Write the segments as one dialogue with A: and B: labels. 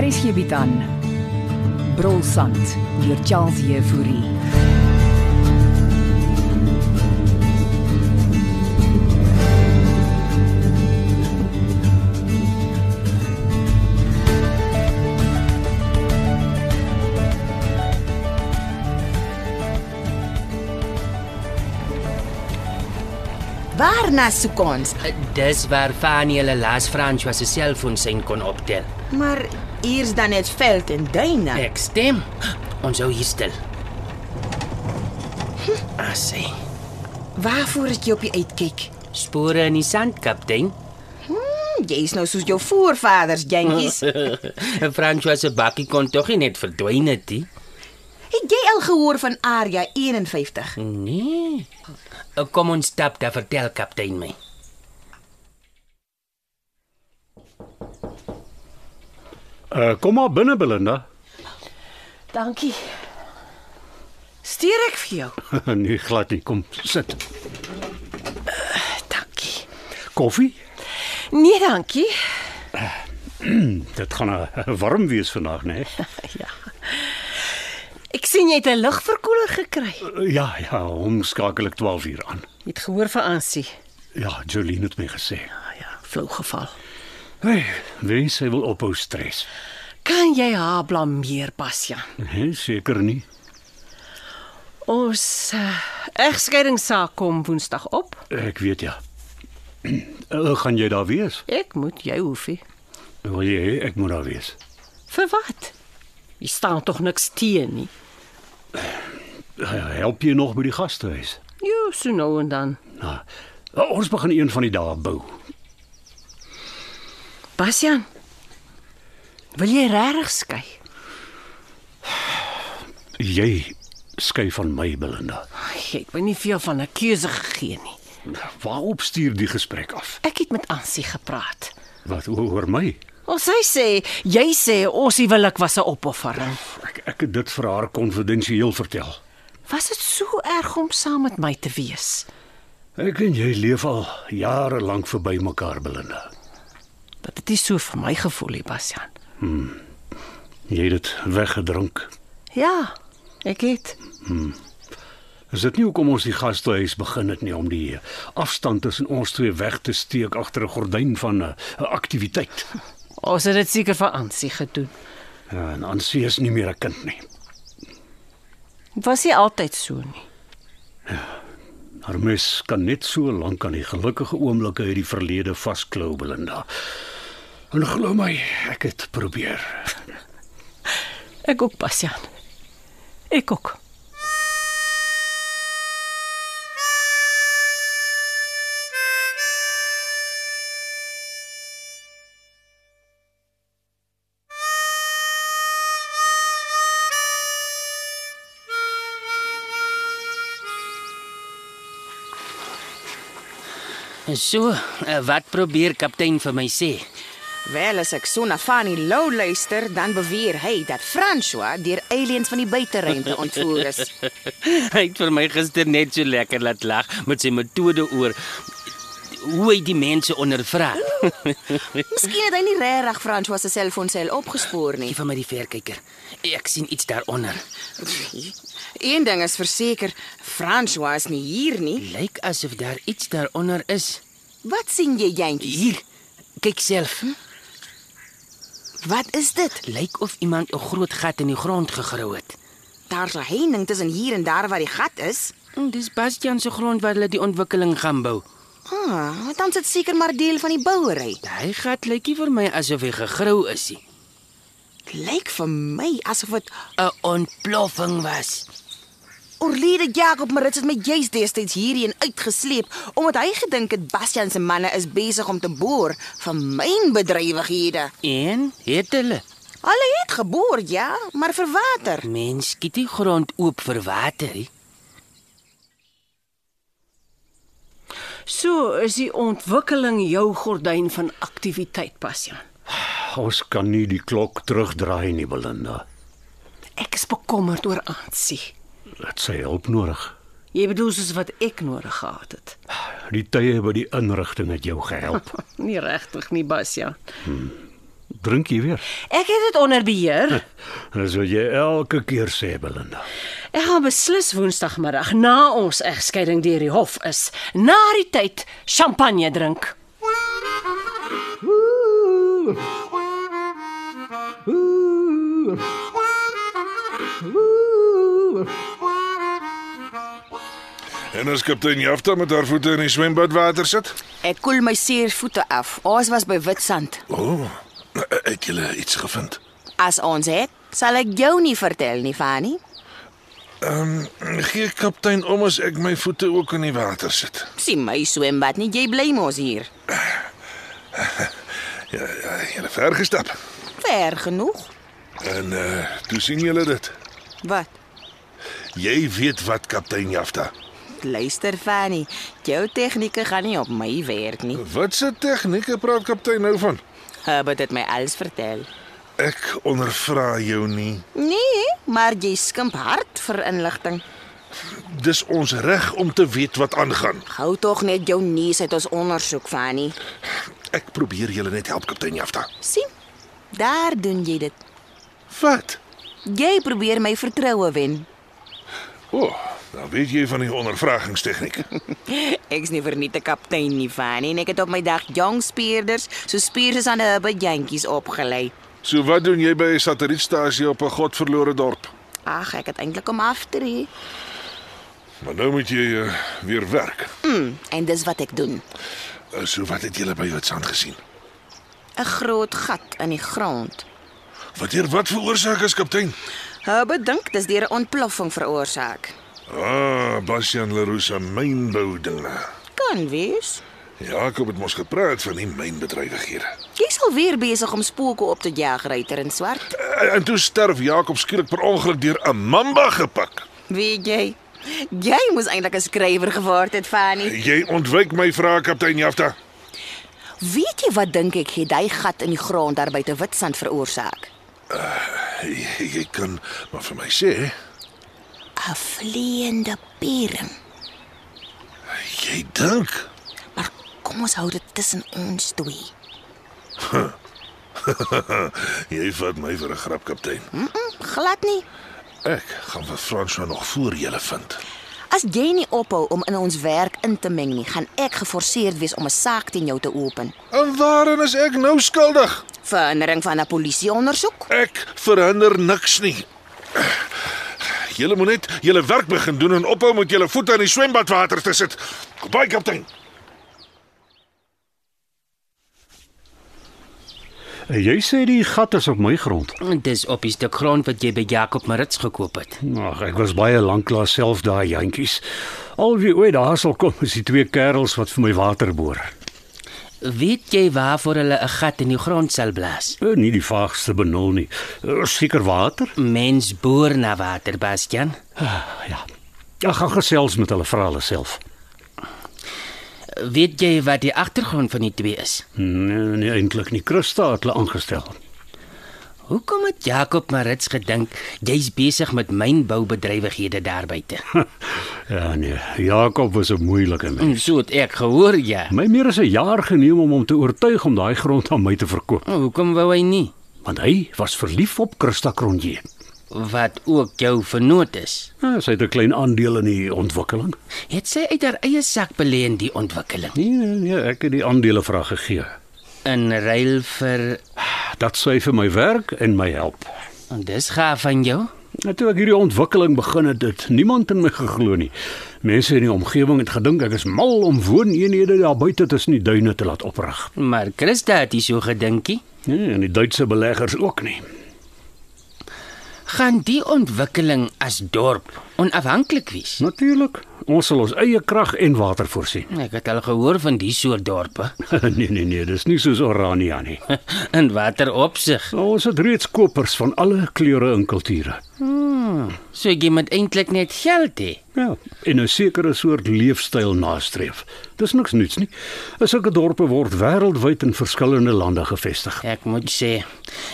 A: Hier is hierby dan. Brolsand deur Charles Jefouri.
B: Waarna soek ons?
C: Dis waar Fanny hulle laas François se selfoon sein kon optel.
B: Maar hier's dan net veld en duine.
C: Ek stem. Ons hou hier stil. Ah, sien.
B: Waarvoor is jy op die uitkyk?
C: Spore in die sand, kaptein.
B: Hm, jy is nou soos jou voorvaders, jentjies.
C: François se bakkie kon tog nie net verdwyn het nie.
B: Het jy al gehoor van Area 51?
D: Hm.
C: Nee. Kom ons stap daar vertel kaptein my.
E: Uh, kom maar binne Belinda.
D: Dankie. Stuur ek vir jou.
E: nee, glad nie. Kom sit.
D: Eh, Dankie.
E: Koffie?
D: Nee, dankie.
E: Dit gaan eh, warm wees vandag, né? Nee?
D: Ek sien jy het 'n lugverkoeler gekry.
E: Uh, ja, ja, hom skakel ek 12 uur aan.
D: Jy het gehoor van Ansie.
E: Ja, Jolene het my gesê.
D: Ah ja, flou geval.
E: Hey, wie sê wil ophou stres?
D: Kan jy haar blameer, Basja?
E: Nee, seker nie.
D: Ons uh, egskeidingssaak kom Woensdag op.
E: Ek weet ja. Uh, gaan jy daar wees?
D: Ek moet jou hoefie.
E: Wil jy hê ek moet daar wees?
D: Vir wat? Jy staan tog niks teen nie.
E: Uh, help jy nog by die gastehuis?
D: Jo, so nou en dan.
E: Nou, uh, ons begin een van die dae bou.
D: Basjan. Wil jy regtig skei?
E: Jy skei van my, Belinda.
D: Jy het my nie veel van 'n keuse gegee nie.
E: Waarop stuur die gesprek af?
D: Ek het met Ansie gepraat.
E: Wat oor, oor my?
D: Ons hy sê, jy sê ons huwelik was 'n opoffering.
E: Ek ek het dit vir haar konfidensieel vertel.
D: Was dit so erg om saam met my te wees?
E: Ek en jy leef al jare lank verby mekaar, Belinda.
D: Dat dit nie so vir my gevoel het, Basjan.
E: Jy het dit weggedrink.
D: Ja, ek het.
E: Is dit nie hoekom ons die gastehuis begin het nie om die afstand tussen ons twee weg te steek agter 'n gordyn van 'n uh, aktiwiteit?
D: Ons het dit seker vir Ansie gedoen.
E: Ja, en Ansie is nie meer 'n kind nie.
D: Dit was nie altyd so nie.
E: Haar mens kan net so lank aan die gelukkige oomblikke uit die verlede vasklou, Belinda. En glo my, ek het probeer.
D: Ek ook, Basjan. Ek ook.
C: So, eh, wat probeer kaptein vir my sê?
B: Wel as ek so na Fanny Lou luister, dan beweer hy dat François deur aliens van die buiteruimte ontvoer is.
C: Hy het vir my gister net so lekker laat lag met sy metode oor hoe hy die mense ondervra.
B: Miskien het hy nie regtig François se selfoon sel opgespoor nie.
C: Gee vir my die verkyker. Ek sien iets daaronder.
B: Een ding is verseker, François is nie hier nie.
C: Lyk asof daar iets daaronder is.
B: Wat sien jy, jentjie?
C: Hier. Kyk self.
B: Wat is dit?
C: Lyk of iemand 'n groot gat in die grond gegrou het.
B: Daar's 'n heining tussen hier en daar waar die gat is.
C: Hm, Dis Bastian se grond waar hulle die ontwikkeling gaan bou.
B: Ah, dan sit seker maar deel van die bouery.
C: Hy gat lykie vir my asof hy gegrou is. nie.
B: Lyk vir my asof dit
C: 'n Ontploffing was.
B: oorlede Jakob Marits het my juis destyds hierheen uitgesleep omdat hy gedink het Bastian se manne is besig om te boor van myn bedrywighede.
C: En het hulle
B: Hulle het geboor, ja, maar vir water.
C: mens skiet die grond oop vir water. nie.
D: So is die ontwikkeling jou gordyn van aktiwiteit, Basjan.
E: Ons kan nie die klok terugdraai nie, Belinda.
D: Ek is bekommerd oor Ansie.
E: Dit sê hulp nodig.
D: Jy bedoel soos wat ek nodig gehad het.
E: Die tye by die inrigting het jou gehelp.
D: Nie regtig nie, Basja.
E: Drink jy weer?
D: Ek het dit onder beheer.
E: Dis wat jy elke keer sê, Belinda.
D: Ek gaan beslis Woensdagmiddag na ons egskeiding deur die hof is, na die tyd champagne drink.
F: En as kaptein Jafta met haar voete in die swembad water sit?
B: Ek koel my seer voete af. Ons was by Witstrand.
F: O, oh, het jy iets gevind?
B: As ons het, sal ek jou nie vertel nie, Fanny.
F: Gee kaptein om as ek my voete ook in die water sit.
B: Sien my swembad nie, jy bly mos hier.
F: Ja, ja, jy het ver gestap.
B: Ver genoeg.
F: En uh, toe sien julle dit.
B: Wat?
F: Jy weet wat kaptein Jafta.
B: Luister Fanny, jou tegnieke gaan nie op my werk nie.
F: Wat se tegnieke praat kaptein nou van?
B: Hubbard het my alles vertel.
F: Ek ondervra jou nie.
B: Nee, maar jy skimp hard vir inligting.
F: Dis ons reg om te weet wat aangaan.
B: Hou tog net jou neus uit ons ondersoek, Fanny.
F: Ek probeer julle net help kaptein Jafta.
B: sien? Daar doen jy dit.
F: Wat?
B: Jy probeer my vertroue wen.
F: O, oh, nou weet jy van die ondervragingstegniek.
B: Ek's nie verniet 'n kaptein nie, Fanny, en ek het op my dag jong speerders, so spiers is aan 'n bejantjies opgelei.
F: So wat doen jy by 'n satellietstasie op 'n godverlore dorp?
B: Ag, ek het eintlik om af te ry.
F: Maar nou moet jy uh, weer werk.
B: Mm, en dis wat ek doen.
F: Uh, So wat het julle by Witstrand gesien?
B: 'n Groot gat in die grond.
F: Wat deur wat veroorsaak is kaptein?
B: Hou bedink dis deur 'n ontploffing veroorsaak.
F: Ah, Bastian Leroux se mynboudinge.
B: Kan wees.
F: Jakob het mos gepraat van die mynbedrywighede.
B: Jy's al weer besig om spooke op te jag, ruiter in swart.
F: Eh, En, en toe sterf Jakob skielik per ongeluk deur 'n mamba gepik.
B: Weet jy? Jy moes eintlik 'n skrywer geword het, Fanny.
F: Jy ontwyk my vrae, kaptein Jafta.
B: Weet jy wat dink ek het hy gat in die grond daar by te Witstrand veroorsaak?
F: Jy, jy kan maar vir my sê,
B: 'n Vleiende piering.
F: jy dink
B: Maar kom ons hou dit tussen ons twee.
F: jy vat my vir 'n grap, kaptein.
B: Mm -mm, glad nie.
F: Ek gaan vir François nog voor julle vind.
B: As jy nie ophou om in ons werk in te meng nie, gaan ek geforseerd wees om 'n saak teen jou te open.
F: En waarin is ek nou skuldig?
B: Verhindering van 'n polisieondersoek?
F: Ek verhinder niks nie. Julle moet net julle werk begin doen en ophou met julle voete in die swembadwater te sit. Baie kaptein.
E: En jy sê die gat is op my grond.
C: Mm, Dis op die stuk grond wat jy by Jakob Marits gekoop het.
E: Ag, ek was baie lanklaas self daai jantjies. Al wie ooit daar sal kom is die twee kerels wat vir my water boor.
C: Weet jy waarvoor hulle 'n gat in die grond sal blaas?
E: Eh, Nie die vaagste benul nie. Eh, Seker water?
C: Mens boer na water, Bastian.
E: Ah, Ja. Ja, gaan gesels met hulle vra hulle self.
C: Weet jy wat die agtergrond van die twee is?
E: Nee, nee eintlik nie. Christa het hulle aangestel.
C: Hoekom het Jakob Marits gedink jy's besig met mynboubedrywighede daar buite?
E: Ja nee, Jakob was 'n moeilike mens.
C: Hm, So het ek gehoor, ja.
E: My meer as 'n jaar geneem om hom te oortuig om daai grond aan my te verkoop,
C: Hm, Hoekom wou hy nie?
E: want hy was verlief op Christa Cronje.
C: Wat ook jou vernoot is.
E: Ja, sy het 'n klein aandeel in die ontwikkeling.
C: Het sy uit haar eie sak belê in die ontwikkeling
E: Nee, nee, nee, ek het die aandele vir haar gegee.
C: in ruil vir
E: Dat sy vir my werk en my help.
C: en dis gaaf van jou.
E: En toe ek hierdie ontwikkeling begin het, het niemand in my geglo nie. Mense in die omgewing het gedink ek is mal om wooneenhede daar buite tussen die duine te laat oprig.
C: Maar Christa het nie so gedinkie.
E: Nee, en die Duitse beleggers ook nie.
C: Gaan die ontwikkeling as dorp onafhanklik wees?
E: Natuurlik, ons sal ons eie krag en water voorsien.
C: Hm, Ek het al gehoor van die soort dorpe
E: nee nee nee, dis nie soos Orania nie.
C: in watter opsig.
E: Nou, Ons het reeds kopers van alle kleure en kulture.
C: Hmm, So jy moet eintlik net geld hê.
E: Ja, en 'n sekere soort leefstyl nastreef. Dis niks nuuts nie. Sulke dorpe word wêreldwyd in verskillende lande gevestig.
C: Ek moet sê,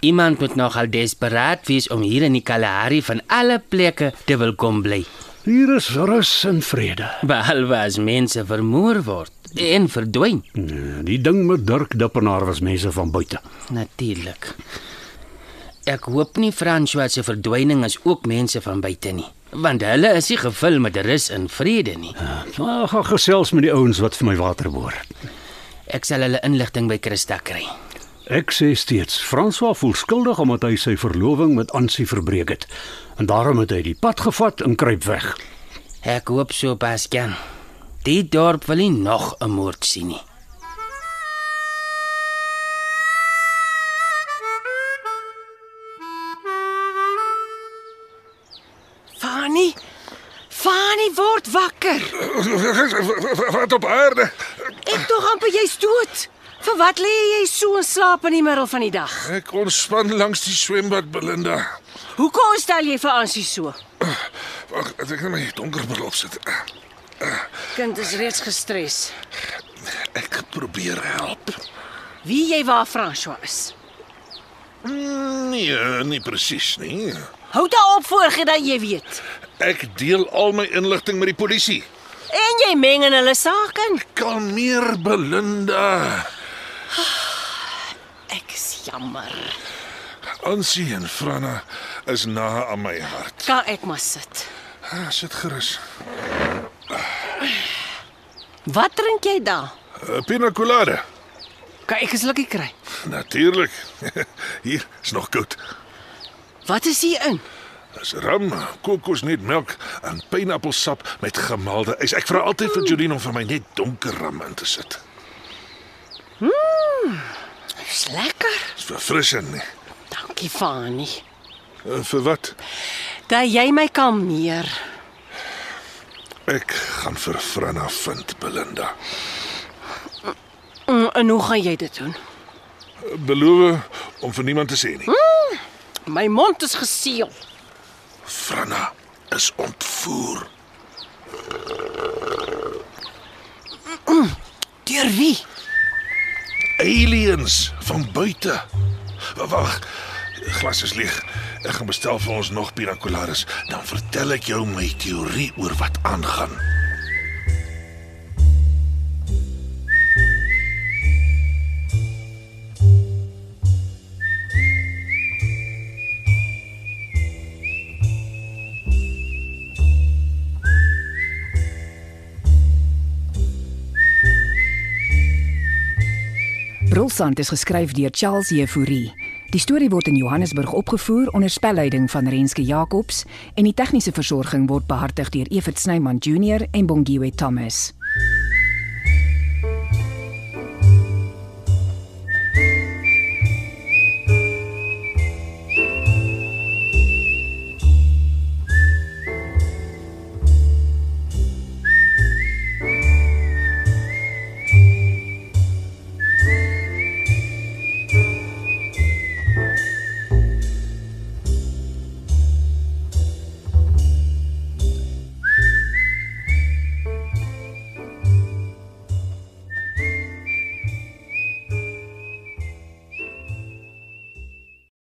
C: iemand moet nogal desperaat wees om hier in die Kalahari van alle plekke te wil kom bly,
E: Hier is rus en vrede.
C: behalwe as mense vermoor word en verdwyn.
E: Nee, Die ding met Dirk Dippenaar was mense van buite.
C: Natuurlik. Ek hoop nie François se verdwyning is ook mense van buite nie, want hulle is nie gevul met rus en vrede nie.
E: Maar Eh, gaan gesels met die ouens wat vir my water boor.
C: Ek sal hulle inligting by Christa kry.
E: Ek sê steeds, François voel skuldig omdat hy sy verloving met Ansie verbreek het. En daarom het hy die pad gevat en kruip weg.
C: Ek hoop so, Baskan. Die dorp wil nie nog 'n moord sien nie.
D: Fani. Fani word wakker.
F: Wat op aarde?
D: Ek tog amper jy's dood. Vir wat lê jy so en slaap in die middel van die dag?
F: Ek ontspan langs die swembad, Belinda.
D: Hoekom stel jy vir Ansie so?
F: Wag, ek moet my donkerbril opsit.
D: Kind is reeds gestres.
F: Ek probeer help.
D: Wie jy waar François is.
F: Mm, Nee, nie presies nie.
D: Hou dit op voordat jy weet.
F: Ek deel al my inligting met die polisie.
D: En jy meng in hulle sake in.
F: Kalmeer, Belinda.
D: Ek is jammer.
F: Ansie en Franna is na aan my hart.
D: Kan ek maar sit.
F: Ah, Sit gerus.
D: Wat drink jy dan?
F: Uh, Pina colada.
D: Kan ek 'n slukkie kry?
F: Natuurlik. Hier is nog koud.
D: Wat is hier in?
F: Dis rum, kokosnetmelk en pineappelsap met gemaalde ys. Ek vra altyd vir Jolien om vir my net donker rum in te sit.
D: Dis lekker.
F: Dis verfrissend. nie?
D: Dankie, Fani.
F: Uh, vir wat?
D: Dat jy my kalmeer.
F: Ek gaan vir Franna vind, Belinda.
D: Mm, En hoe gaan jy dit doen?
F: Uh, Beloof om vir niemand te sê nie.
D: My mond is geseël.
F: Franna is ontvoer
D: Deur wie?
F: aliens van buite. Wa- Wag, glas is leeg. Ek gaan bestel vir ons nog pina coladas, dan vertel ek jou my teorie oor wat aangaan.
A: Brulsand is geskryf deur Charles Jefouri. Die storie word in Johannesburg opgevoer onder spelleiding van Renske Jacobs en die tegniese versorging word behartig deur Evert Snyman Junior en Bongwe Thomas.